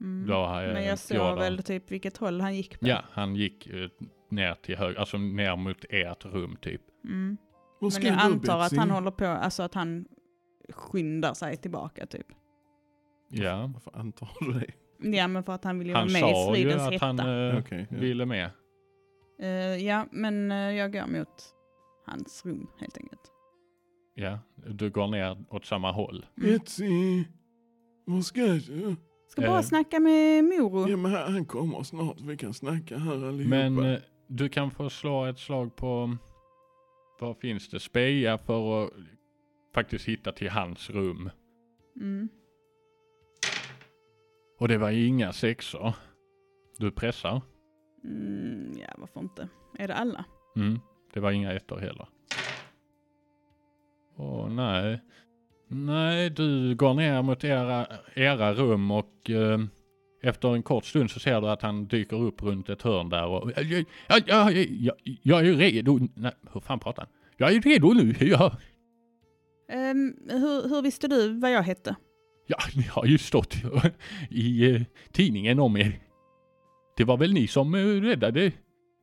S5: Mm.
S3: eh, Då har
S5: Men jag såg
S3: Jordan-
S5: väl typ vilket håll han gick på.
S3: Ja, han gick eh, ner till höger, alltså ner mot ert rum typ.
S5: Mm.
S2: Vad
S5: Men
S2: ska
S5: jag
S2: du,
S5: antar att
S2: Betsy?
S5: han håller på, alltså att han skyndar sig tillbaka typ.
S3: Ja.
S2: Varför antar du det?
S5: Ja men för att han vill ju
S3: Han
S5: vara med i
S3: sa ju
S5: stridens
S3: att
S5: hetta.
S3: han eh,
S2: Okej. ja.
S5: Mm.
S3: ville med.
S5: Eh, ja men eh, jag går mot hans rum helt enkelt.
S3: Ja, du går ner åt samma håll.
S5: Mm.
S2: Betsy! Vad ska du?
S5: Ska bara
S3: Eh.
S5: snacka med Moro.
S2: Ja, men han han kommer snart. Vi kan snacka här allihopa.
S3: Men eh, du kan få slå ett slag på, vad finns det, speja för att faktiskt hitta till hans rum.
S5: Mm.
S3: Och det var inga sexor. Du pressar.
S5: Mm, ja varför inte. Är det alla?
S3: Mm. Det var inga ettor heller. Åh nej. Nej, du går ner mot era, era rum och eh, efter en kort stund så ser du att han dyker upp runt ett hörn där och jag, jag, jag, jag, jag är redo. Nej, hur fan pratar han? Jag är redo nu. Ja.
S5: Ehm, hur, hur visste du vad jag hette?
S3: Ja, ni har ju stått i eh, tidningen om er. Det var väl ni som eh, räddade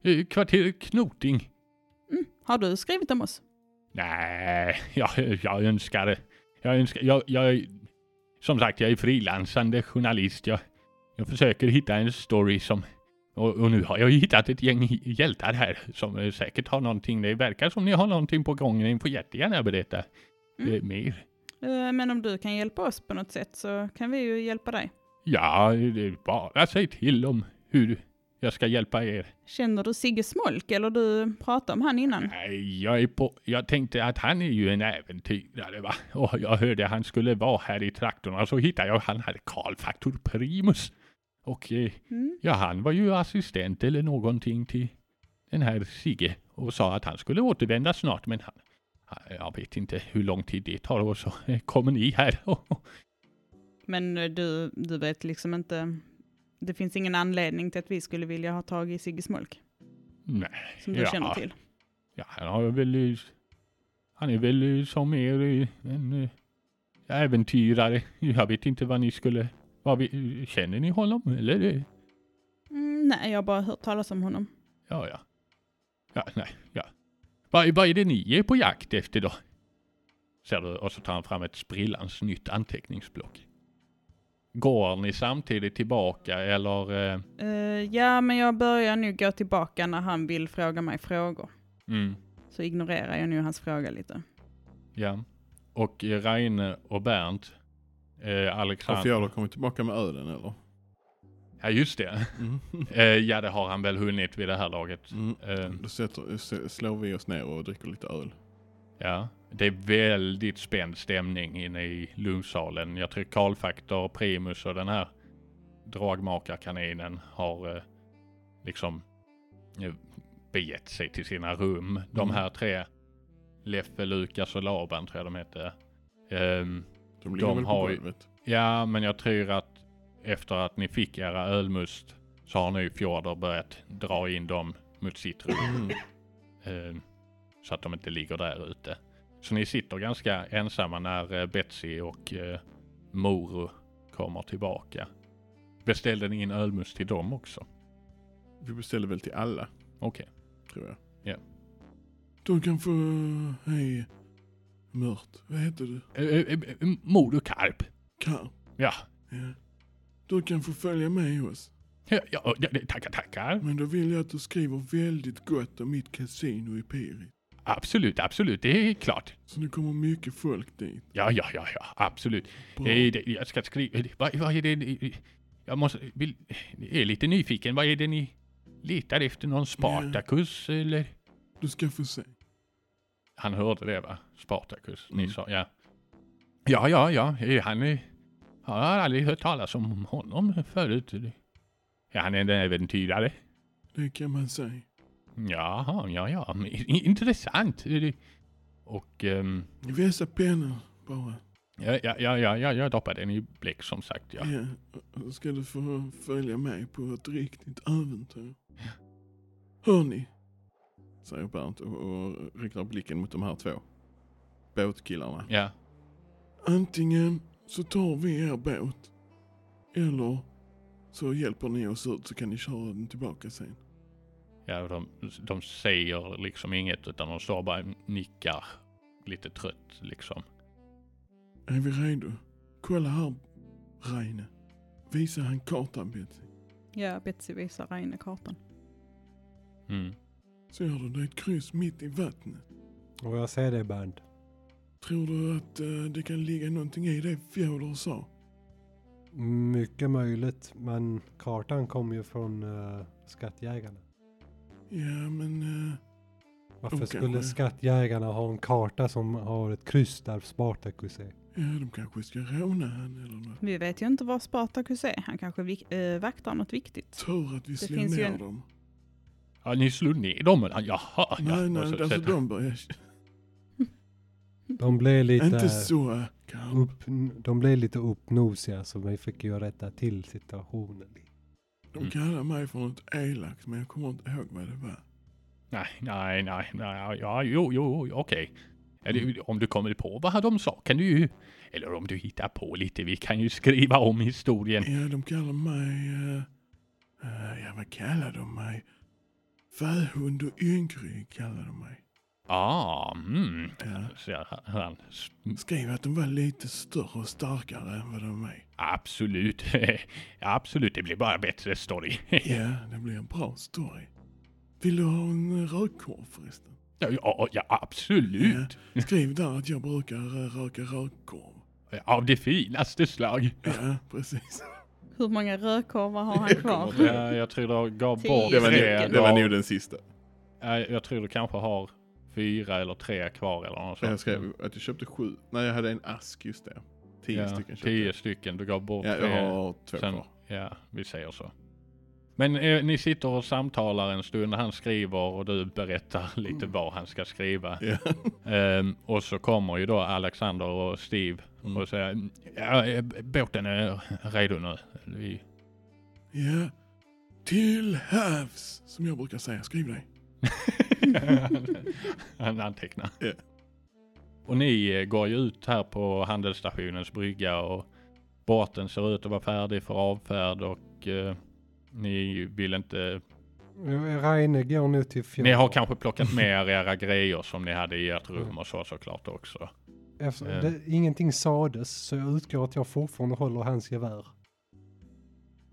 S3: eh, kvarteret Knoting?
S5: Mm. Har du skrivit om oss?
S3: Nej, jag, jag önskar det. Jag önskar... Jag, jag, som sagt, jag är frilansande journalist. Jag, jag försöker hitta en story som... Och, och nu har jag ju hittat ett gäng hj- hjältar här som eh, säkert har någonting. Det verkar som ni har någonting på gång. Ni får jättegärna berätta
S5: Mm.
S3: eh, mer.
S5: Eh, men om du kan hjälpa oss på något sätt så kan vi ju hjälpa dig.
S3: Ja, det är bara säg till om hur jag ska hjälpa er.
S5: Känner du Sigge Smolk eller du pratade om han innan?
S3: Nej, jag, är på, jag tänkte att han är ju en äventyrare va. Och jag hörde han skulle vara här i trakterna så hittade jag han hade Karl Faktor Primus. Och eh,
S5: Mm.
S3: ja, han var ju assistent eller någonting till den här Sigge och sa att han skulle återvända snart men han, han- jag vet inte hur lång tid det tar och så eh, kommer ni här.
S5: Men eh, du, du vet liksom inte, det finns ingen anledning till att vi skulle vilja ha tag i Sigge Smolk
S3: Nej.
S5: som du
S3: Ja.
S5: känner till.
S3: Ja, han har väl... eh, Han är väl eh, som er eh, en eh, äventyrare. Jag vet inte vad ni skulle... Vad vi, eh, känner ni honom eller? eh?
S5: Mm, nej, jag har bara hört talas om honom.
S3: Ja, ja. Ja, nej, ja. Vad, vad är det ni är på jakt efter då? Ser du, och så tar han fram ett sprillans nytt anteckningsblock. Går ni samtidigt tillbaka eller? Eh,
S5: Eh, ja, men jag börjar nu gå tillbaka när han vill fråga mig frågor.
S3: mm,
S5: Så ignorerar jag nu hans fråga lite.
S3: ja. Och eh, Reine och Bernt. Eh,
S2: Har
S3: Alexander.
S2: Fjodor kommit tillbaka med ölen eller?
S3: Ja, just det.
S2: Mm.
S3: Eh, ja, det har han väl hunnit vid det här laget.
S2: Mm.
S3: Eh,
S2: Då sätter, s- slår vi oss ner och dricker lite öl.
S3: ja. Det är väldigt spänd stämning inne i lunchsalen. Jag tror Karlfaktor, Primus och den här dragmakarkaninen har eh, liksom eh, begett sig till sina rum. De
S2: Mm.
S3: här tre, Leffe, Lukas och Laban tror jag de hette. Ehm,
S2: De ligger
S3: De
S2: väl på
S3: har ju-
S2: golvet?
S3: Ja, men jag tror att efter att ni fick era ölmust så har nu Fjodor börjat dra in dem mot sitt rum.
S2: Mm.
S3: eh, så att de inte ligger där ute. Så ni sitter ganska ensamma när eh, Betsy och eh, Moro kommer tillbaka. Beställde ni in ölmust till dem också?
S2: Vi beställer väl till alla,
S3: Okej.
S2: tror jag.
S3: Ja.
S2: De kan få... Hej, Mört. Vad heter du?
S3: Eh, eh, eh, Moderkarp.
S2: Karp.
S3: Ja.
S2: Ja. Du kan få följa med oss.
S3: Ja, ja, ja, tackar, tackar.
S2: Men då vill jag att du skriver väldigt gott om mitt kasino i Pirit.
S3: Absolut, absolut. Det är klart.
S2: Så det kommer mycket folk dit.
S3: Ja, ja, ja, ja. Absolut. Eh,
S2: Bra.
S3: Det, det, jag ska skriva... det- Vad, vad är det ni- Jag måste... Vill, jag är lite nyfiken. Vad är det ni letar efter? Någon Spartacus eller?
S2: Du ska få se.
S3: Han hörde det va? Spartacus. Ni
S2: Mm.
S3: sa, ja. Ja, ja, ja. eh, Han är... Jag har aldrig hört talas om honom förut. Ja, han är en äventyrare.
S2: Det kan man säga.
S3: Jaha, ja, ja. men i- Intressant. Eh, Och... ehm,
S2: Vässa pennan bara.
S3: Ja, ja, ja, ja, ja, jag doppar den i bläck som sagt. Ja.
S2: Ja. och Då ska du få följa med på ett riktigt äventyr. Hörni. Säger Bernt och, och riktar blicken mot de här två. Båtkillarna.
S3: ja.
S2: Antingen så tar vi er båt. Eller så hjälper ni oss ut så kan ni köra den tillbaka sen.
S3: Ja, de, de säger liksom inget utan de står bara och nickar lite trött liksom.
S2: Är vi redo? Kolla här Reine. Visa han kartan Betsy.
S5: Ja, Betsy visar Reine kartan.
S3: Mm.
S2: Ser du det är ett kryss mitt i vattnet?
S3: Mm.
S4: Och jag ser det Bernt.
S2: Tror du att eh, det kan ligga någonting i det Fjodor sa?
S4: Mycket möjligt, men kartan kom ju från eh, skattjägarna.
S2: Ja men... eh,
S4: Varför
S2: Okej.
S4: skulle skattjägarna ha en karta som har ett kryss där Spartacus är?
S2: ja, de kanske ska råna han eller något.
S5: Vi vet ju inte var Spartacus är. Han kanske vik- eh, vaktar något viktigt.
S2: Tur att vi slog
S5: finns ju
S2: ner
S5: en-
S2: dem.
S3: Ja, ni slog ner dem? eller? Jaha. Ah, ja.
S2: nej
S3: Och
S2: nej,
S3: så
S2: alltså
S3: sätter-
S2: de börjar...
S4: De blev
S2: Inte
S4: lite,
S2: så eh, kanske.
S4: upp, de blev lite uppnosiga så vi fick ju rätta till situationen.
S2: De
S3: Mm.
S2: kallar mig för något elakt men jag kommer inte ihåg vad det var.
S3: Nej, nej, nej, nej. Ja, jo, jo, okej. Eller om du kommer på vad de sa kan du ju... Eller om du hittar på lite. Vi kan ju skriva om historien.
S2: Ja de kallar mig... eh, eh, ja vad kallar de mig? Fähund och yngre kallar de mig.
S3: Ah, mm.
S2: Ja.
S3: Säger han. S-
S2: Skriv att de var lite större och starkare än vad de är.
S3: Absolut. Absolut, det blir bara bättre story.
S2: Ja, det blir en bra story. Vill du ha en eh, rökkorv förresten?
S3: Ja, ja, ja absolut.
S2: Ja, skriv där att jag brukar eh, röka rökkorv.
S3: Av det finaste slag.
S2: Ja, precis.
S5: Hur många rödkorvar har han kvar?
S3: Ja, jag tror det gav
S5: Tio
S3: bort
S5: Det var nog-
S3: tre.
S5: det
S3: gav-
S2: den sista.
S3: Ja, Jag tror du kanske har fyra eller tre kvar eller något sånt.
S6: Jag skrev att jag köpte sju. Nej, jag hade en ask, just det. Tio
S3: Ja,
S6: stycken köpte
S3: Tio stycken, du gav bort
S6: jag. Ja,
S3: tre.
S6: jag har två
S3: Sen,
S6: kvar.
S3: ja, vi säger så. Men eh, ni sitter och samtalar en stund, han skriver och du berättar lite
S6: Mm.
S3: vad han ska skriva.
S6: Ja.
S3: Ehm, och så kommer ju då Alexander och Steve
S6: Mm.
S3: och säger ja, eh, båten är redo nu. Vi,
S2: Ja. Till havs, som jag brukar säga. Skriv det.
S3: han antecknar.
S6: Ja.
S3: Och ni eh, går ju ut här på handelsstationens brygga och båten ser ut att vara färdig för avfärd och eh, ni vill inte
S4: Reine går nu till fjol.
S3: Ni har kanske plockat med er era grejer som ni hade i ert rum och så såklart också.
S4: Efter,
S3: Eh.
S4: det, ingenting sades så jag utgår att jag fortfarande håller hans gevär.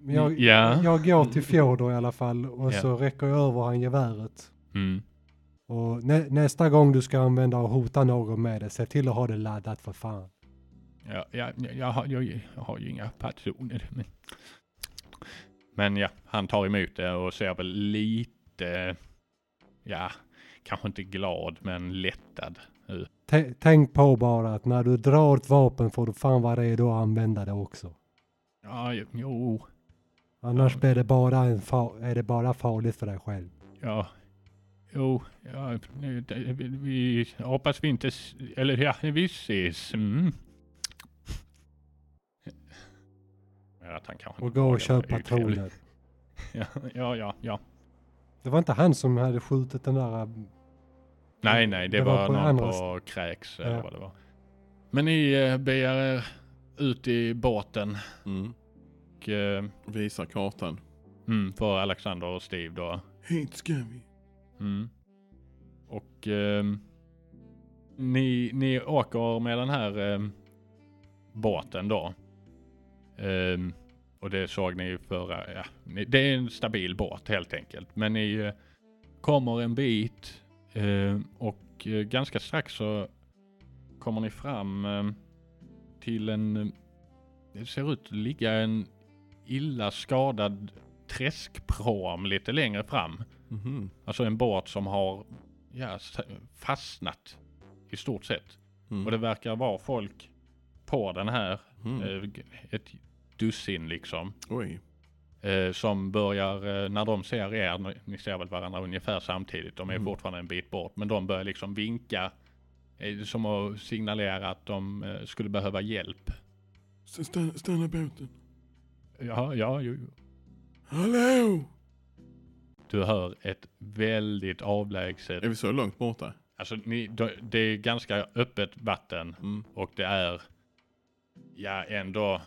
S4: Men jag,
S3: Ja.
S4: jag går till Fjodor i alla fall och
S3: Ja.
S4: så räcker jag över han geväret.
S3: Mm.
S4: Och nä, nästa gång du ska använda och hota någon med det, se till att ha det laddat för fan.
S3: Ja, ja, jag, har, jag, jag har ju inga patroner. Men, men ja, han tar emot det och ser väl lite, ja, kanske inte glad men lättad.
S4: Tä- Tänk på bara att när du drar ett vapen får du fan vara redo att använda det också.
S3: Ja, jo,
S4: Annars
S3: Ja.
S4: blir det bara, en fa- är det bara farligt för dig själv.
S3: ja. Jo, ja, nu- det- vi- vi hoppas vi inte, s- eller ja, vi ses. Mm. Ja, att han kanske
S4: Och
S3: inte
S4: gå
S3: var
S4: och
S3: det,
S4: köp
S3: det är ju trevligt.
S4: patroner.
S3: Ja, ja, ja, ja.
S4: Det var inte han som hade skjutit den där... äh,
S3: Nej, nej, det,
S4: Det
S3: var,
S4: var på
S3: någon
S4: andra
S3: på kräks eller
S4: Ja.
S3: vad det var. Men ni eh, beger er ut i båten
S6: Mm.
S3: och, eh,
S6: Visar kartan.
S3: mm, för Alexander och Steve då.
S2: Hit ska vi.
S3: Mm. Och ehm, Ni, ni åker med den här ehm, båten då. Ehm, och det såg ni ju förra, ja, ni, det är en stabil båt helt enkelt. Men ni eh, kommer en bit ehm, och eh, ganska strax så kommer ni fram ehm, till en, eh, det ser ut att ligga en illa skadad träskpråm lite längre fram.
S2: Mhm.
S3: Alltså en båt som har ja, s- fastnat i stort sett.
S2: Mm.
S3: Och det verkar vara folk på den här.
S2: Mm.
S3: eh, g- Ett dussin liksom.
S2: Oj.
S3: eh, Som börjar, eh, när de ser er, ni- ni ser väl varandra ungefär samtidigt. De är
S2: Mm.
S3: fortfarande en bit bort. Men de börjar liksom vinka. eh, Som att signalera att de eh, skulle behöva hjälp.
S2: S- Stanna, stanna båten.
S3: Ja, ja, jo, jo.
S2: Hallå!
S3: Du hör ett väldigt avlägset.
S2: Är vi så långt borta?
S3: Alltså ni, de- det är ganska öppet vatten.
S2: Mm.
S3: Och det är, ja ändå,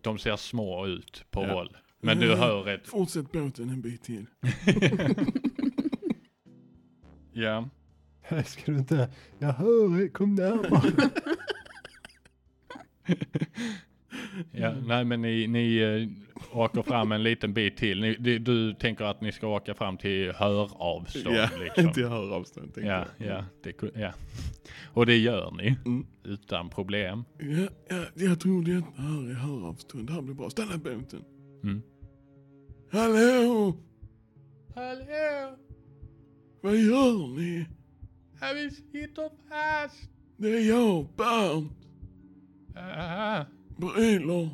S3: de ser små ut på
S2: Ja. Mm.
S3: håll. Men du hör ett,
S2: Fortsätt båten en bit till.
S3: ja,
S4: äh, Ska du inte... Jag hör er, kom
S3: Alltså,
S4: närmare.
S3: ja
S2: Mm.
S3: nej men ni, ni eh, åker fram en liten bit till. Ni, du, du tänker att ni ska åka fram till höravstånd
S2: Ja,
S3: liksom.
S2: Inte jag hör avstånd tänkte
S3: Ja, ja, det, ku- ja. Och det gör ni,
S2: Mm.
S3: utan problem.
S2: jag. Ja, ja, jag tror det här är höravstånd. Det här blir bra. Stanna båten.
S3: Mm.
S2: Hallå!
S3: Hallå,
S2: Vad gör ni?
S3: vi sitter fast.
S2: Det är jag, Bernt.
S3: Aha,
S2: Brylor.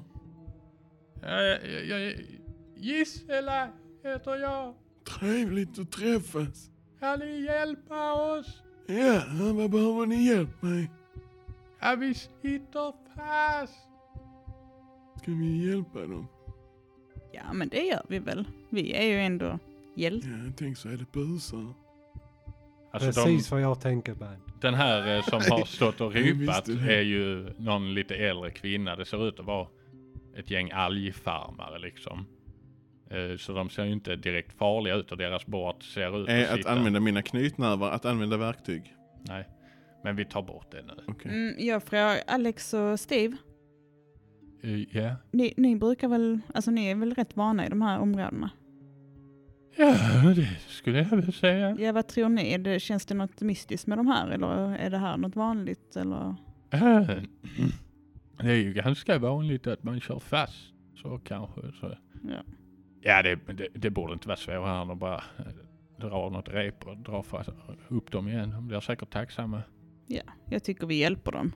S3: Gissela heter jag.
S2: Trevligt att träffas.
S3: Kan ni hjälpa oss?
S2: Ja, vad behöver ni hjälp med?
S3: Ja, vi sitter fast.
S2: Ska vi hjälpa dem?
S5: Ja, men det gör vi väl. Vi är ju ändå hjältar.
S2: Ja, tänk så är det busar.
S3: Alltså de,
S4: Precis vad jag tänker Bernt.
S3: den här eh, som har stått och
S2: Jag
S3: rypat
S2: visste det.
S3: är ju någon lite äldre kvinna. Det ser ut att vara ett gäng algfarmare liksom. Eh, Så de ser ju inte direkt farliga ut och deras båt ser ut
S2: Är
S3: Eh, att
S2: att
S3: sitta.
S2: använda mina knytnävar, att använda verktyg.
S3: Nej, men vi tar bort det nu.
S2: Okej.
S5: Mm, jag frågar Alex och Steve.
S3: Eh, Ja,
S5: Ni, ni brukar väl, alltså ni är väl rätt vana i de här områdena?
S3: ja det skulle jag väl säga.
S5: Ja, vad tror ni? Är Det, känns det något mystiskt med de här eller är det här något vanligt? Eller?
S3: Eh, Det är ju ganska vanligt att man kör fast. Så kanske. Så.
S5: Ja.
S3: Ja, det, det, det borde inte vara svårare än att bara eh, dra av något rep och dra fast, upp dem igen. De blir säkert tacksamma.
S5: Jag tycker vi hjälper dem.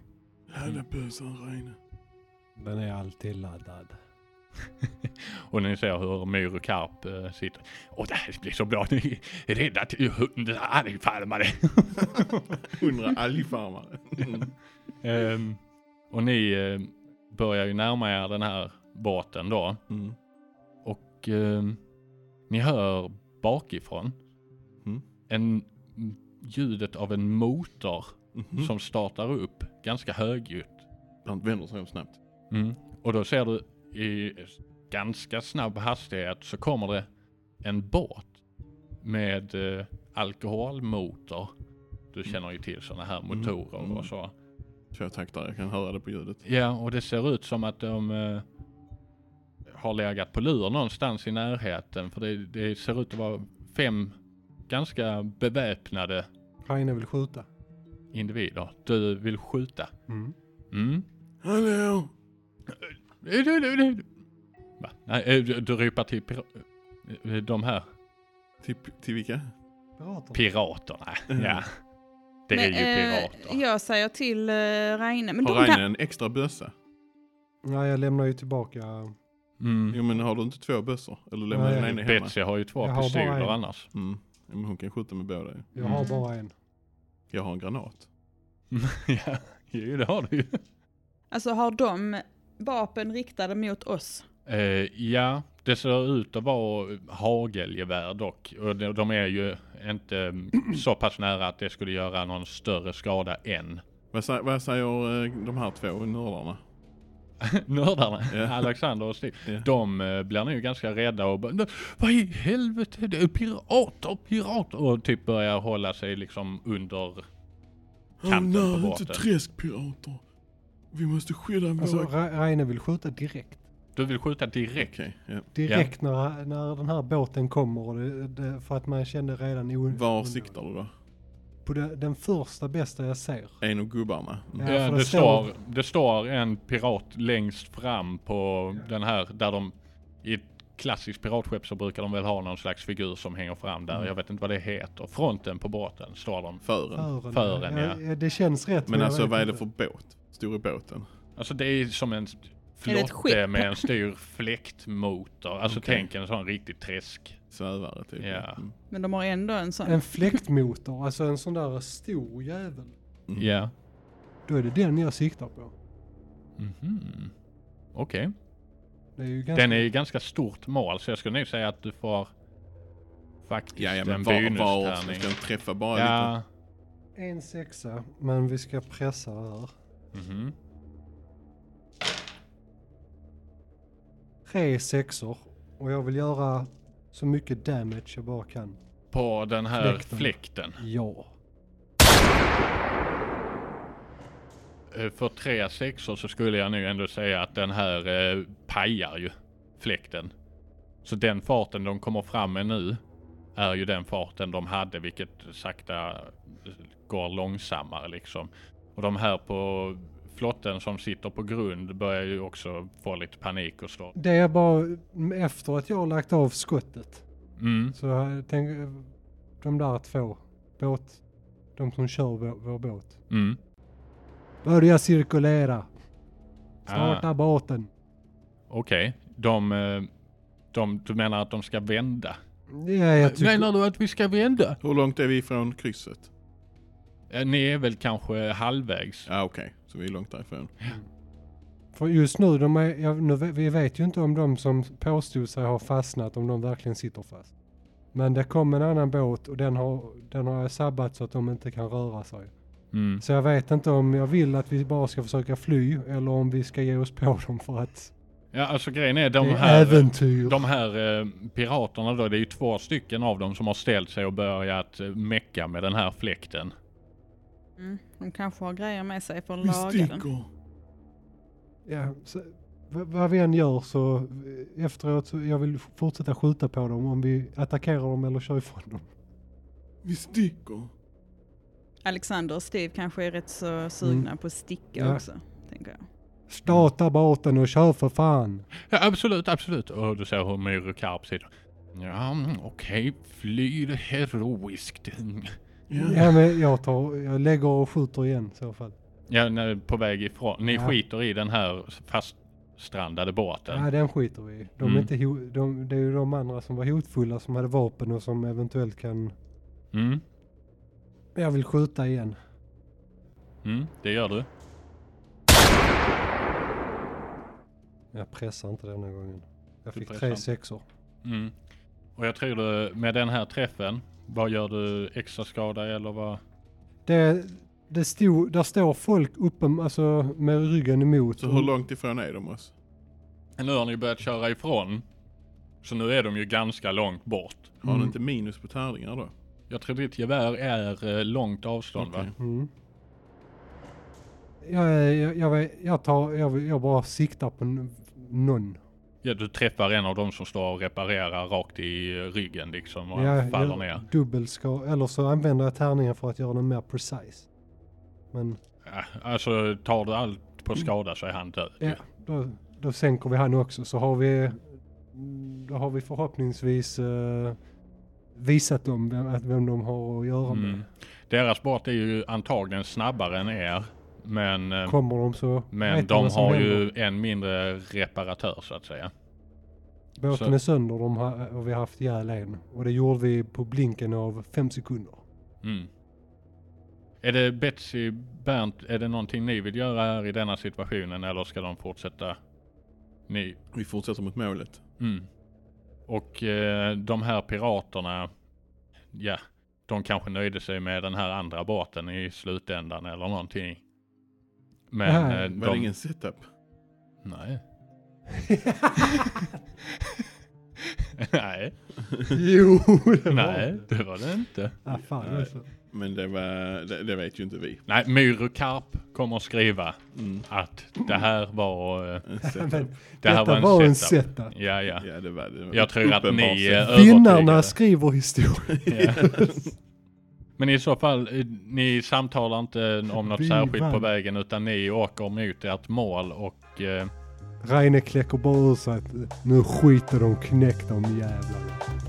S2: Hade busar Reine.
S4: Den är alltid laddad.
S3: Och ni ser hur Myr och Karp eh, sitter. Åh, det här blir så bra. Ni är rädda till hundra algfarmare.
S2: Hundra algfarmare. Mm.
S3: Ehm, och ni eh, börjar ju närma er den här båten då.
S2: Mm.
S3: Och ehm, ni hör bakifrån
S2: Mm.
S3: en, mm, ljudet av en motor
S2: Mhm.
S3: som startar upp ganska högljutt.
S2: Bernt vänder sig om snabbt.
S3: Mm. Och då ser du i ganska snabb hastighet så kommer det en båt med eh, alkoholmotor. Du känner ju till sådana här
S2: Mm,
S3: motorer
S2: mm.
S3: och så.
S2: Två taktar, jag kan höra det på ljudet.
S3: Ja, och det ser ut som att de eh, har legat på lur någonstans i närheten. För det, det ser ut att vara fem ganska beväpnade
S4: Rainer vill skjuta.
S3: individer. Du vill skjuta.
S4: Mm.
S3: Mm.
S2: Hallå!
S3: Du, du, du,
S2: Mm.
S3: du. Va? Nej, eh, du, du ropar till pir- eh, de här
S2: Till, till vilka? Eh,
S3: piraterna.
S2: Mm.
S3: Ja. Det är
S5: Men,
S3: ju
S5: eh,
S3: pirater.
S5: jag säger till eh, Reine, men
S2: Har
S5: de
S2: Reine
S5: kan...
S2: en extra bössa?
S4: Ja, jag lämnar ju tillbaka.
S3: Mm.
S2: Jo men har du inte två bössor? Eller lämnar du
S4: Nej.
S2: den ena hemma?
S3: Betsy har ju två
S4: Jag har bara en.
S3: pistoler annars.
S2: Mm. Ja, men hon kan skjuta med båda ju.
S4: Jag har
S5: Mm.
S4: bara en.
S2: Jag har en granat.
S3: ja, jo, det har du ju.
S5: Alltså har de vapen riktade mot oss?
S3: Eh, ja, det ser ut att vara hagelgevär dock. Och de, de är ju inte mm, så pass nära att det skulle göra någon större skada än
S2: Vad, sä- vad säger eh, de här två nördarna?
S3: nördarna,
S2: Ja.
S3: Alexander och Stig.
S2: Ja.
S3: De eh, blir nu ganska rädda och bara, vad i helvete, det är pirater, pirater! Och typ börjar hålla sig liksom under kanten
S2: Åh,
S3: på
S2: nej,
S3: båten.
S2: inte träskpirater. Vi måste skydda
S4: Alltså
S2: våra...
S4: Ra- Rainer vill skjuta direkt.
S3: Du vill skjuta direkt?
S2: Okej, ja.
S4: Direkt när, när den här båten kommer. och Det, det, för att man kände redan... O-
S2: Var siktar du då?
S4: På det, den första bästa jag ser.
S2: En av gubbarna? Mm.
S4: Ja,
S3: Eh,
S4: för
S3: det,
S4: det
S3: står,
S4: står-
S3: det står en pirat längst fram på den här där de i ett klassiskt piratskepp så brukar de väl ha någon slags figur som hänger fram
S2: Mm.
S3: där. Jag vet inte vad det heter. Fronten på båten står de.
S2: Fören?
S4: Fören.
S3: Fören, ja.
S4: Det känns rätt.
S2: Men
S4: jag
S2: alltså
S4: vet
S2: vad är det
S4: inte.
S2: för båt? Stor i båten?
S3: Alltså det är som en
S5: det ett
S3: flotte
S5: skepp?
S3: med en stor fläktmotor. Alltså
S2: Okej.
S3: tänk en sån riktig träsk.
S2: Svävare typ?
S3: Ja.
S2: Mm.
S5: Men de har ändå en sån.
S4: En fläktmotor, alltså en sån där stor jävel.
S2: Mm.
S3: Ja.
S4: Då är det den jag siktar på.
S3: Mhm. Okej.
S4: Det är ju ganska...
S3: Den är ju ganska stort mål så jag skulle nog säga att du får faktiskt
S2: Ja, ja
S3: en
S2: men var, var ska
S3: bonustärning.
S2: den träffa bara lite?
S3: Ja.
S4: En sexa, men vi ska pressa här.
S3: Mhm.
S4: Tre sexor. Och jag vill göra så mycket damage jag bara kan.
S3: På den här
S4: Fläkten.
S3: fläkten.
S4: Ja.
S3: Eh, För tre sexor så skulle jag nu ändå säga att den här eh, pajar ju fläkten. Så den farten de kommer fram med nu är ju den farten de hade, vilket sakta eh, går långsammare liksom. Och de här på flotten som sitter på grund börjar ju också få lite panik och så.
S4: Det är bara efter att jag har lagt av skottet.
S3: Mm.
S4: Så jag tänker, de där två båt, de som kör vår, vår båt.
S3: Mm.
S4: Börja cirkulera. Starta
S3: Ah,
S4: båten.
S3: Okej, de, eh, de, du menar att de ska vända?
S4: Ja, jag tycker...
S3: du att vi ska vända?
S2: Hur långt är vi ifrån krysset?
S3: Eh, Ni är väl kanske halvvägs?
S2: Ja okej, så vi är långt därifrån.
S4: För just nu, de är, ja, nu, ve- vi vet ju inte om de som påstod sig ha fastnat, om de verkligen sitter fast. Men det kom en annan båt och den har, den har jag sabbat så att de inte kan röra sig.
S3: Mm.
S4: Så jag vet inte om jag vill att vi bara ska försöka fly eller om vi ska ge oss på dem för att
S3: Ja, alltså grejen är
S4: det
S3: de
S4: är
S3: här,
S4: äventyr.
S3: de här eh, piraterna då, det är ju två stycken av dem som har ställt sig och börjat eh, mecka med den här fläkten.
S5: Mm. De kanske har grejer med sig för att
S2: Vi
S5: laga den.
S2: sticker!
S4: Ja, så, v- vad vi än gör så eh, efteråt så jag vill f- fortsätta skjuta på dem om vi attackerar dem eller kör ifrån dem.
S2: Vi sticker!
S5: Alexander och Steve kanske är rätt så sugna på att sticka
S4: Ja.
S5: också. Tänker jag.
S4: Starta båten och kör för fan.
S3: Ja, absolut, absolut. Och du ser hur Myrokarp sitter. Ja, mm, okej, fly heroiskt. Mm.
S2: Ja.
S4: Ja, men jag, tar, jag lägger och skjuter igen i så fall.
S3: Ja, när- på väg ifrån. Ni
S4: Ja.
S3: skiter i den här faststrandade båten.
S4: Ja, den skiter vi i. De är
S3: Mm.
S4: inte ho- de, Det är ju de andra som var hotfulla som hade vapen och som eventuellt kan...
S3: Mm,
S4: Jag vill skjuta igen.
S3: mm, det gör du.
S4: Jag pressar inte den här gången. Jag
S3: Du
S4: fick
S3: pressar
S4: tre
S3: inte.
S4: sexor.
S3: Mm. Och jag tror du, med den här träffen, vad gör du? Extra skada eller vad?
S4: Det, det stod, där står folk uppe alltså, med ryggen emot.
S2: Så hur långt ifrån är de oss?
S3: Nu har ni börjat köra ifrån. Så nu är de ju ganska långt bort.
S2: Har
S4: Mm.
S2: de inte minus på tärningar då?
S3: Jag tror ditt gevär är eh, långt avstånd
S2: Okej.
S3: va?
S4: Mm. Jag, är- jag, jag, vet- jag, tar, jag, vill- jag bara siktar på n- någon.
S3: Ja, du träffar en av dem som står och reparerar rakt i eh, ryggen liksom och
S4: Ja,
S3: han faller
S4: jag-
S3: ner.
S4: Dubbelska, eller så använder jag tärningen för att göra den mer precise. Men
S3: Ja, alltså tar du allt på skada så är han död.
S4: Mm. Ja, då, då sänker vi han också så har vi då har vi förhoppningsvis eh, visat dem vem, att vem de har att göra med.
S3: Mm. Deras båt är ju antagligen snabbare än er. Men, eh,
S4: Kommer de så
S3: men
S4: vet
S3: de
S4: vad som
S3: har
S4: händer.
S3: ju en mindre reparatör så att säga.
S4: Båten
S3: så-
S4: är sönder de har, och vi har haft ihjäl en. Och det gjorde vi på blinken av fem sekunder.
S3: Mm. Är det Betsy, Bernt, är det någonting ni vill göra här i denna situationen eller ska de fortsätta? Ni?
S2: Vi fortsätter mot målet.
S3: Mm. Och eh, de här piraterna, ja, de kanske nöjde sig med den här andra båten i slutändan eller någonting. Men
S4: Nej,
S3: eh,
S2: Var det
S3: de...
S2: ingen setup?
S3: Nej. Nej,
S4: jo, det var
S3: nej, det var det inte.
S4: Ah, fan,
S3: Nej.
S4: alltså.
S2: Men det, var, det, det vet ju inte vi.
S3: Nej, Myro Karp kommer att skriva
S2: Mm.
S3: att det här var, eh,
S2: En setup.
S4: Men
S3: det här
S4: detta
S3: var en setup. Ja, ja.
S2: Ja, det var det. Var
S3: Jag tror att
S2: uppenbart
S3: ni eh,
S2: setup.
S3: är övertygade.
S4: Vinnarna skriver historia.
S3: Ja. Men i så fall, eh, ni samtalar inte om något
S4: Vi
S3: särskilt på
S4: vann.
S3: vägen utan ni åker mot ert mål och eh,
S4: Reine kläcker bara ur sig att nu skiter de knäck de jävlarna.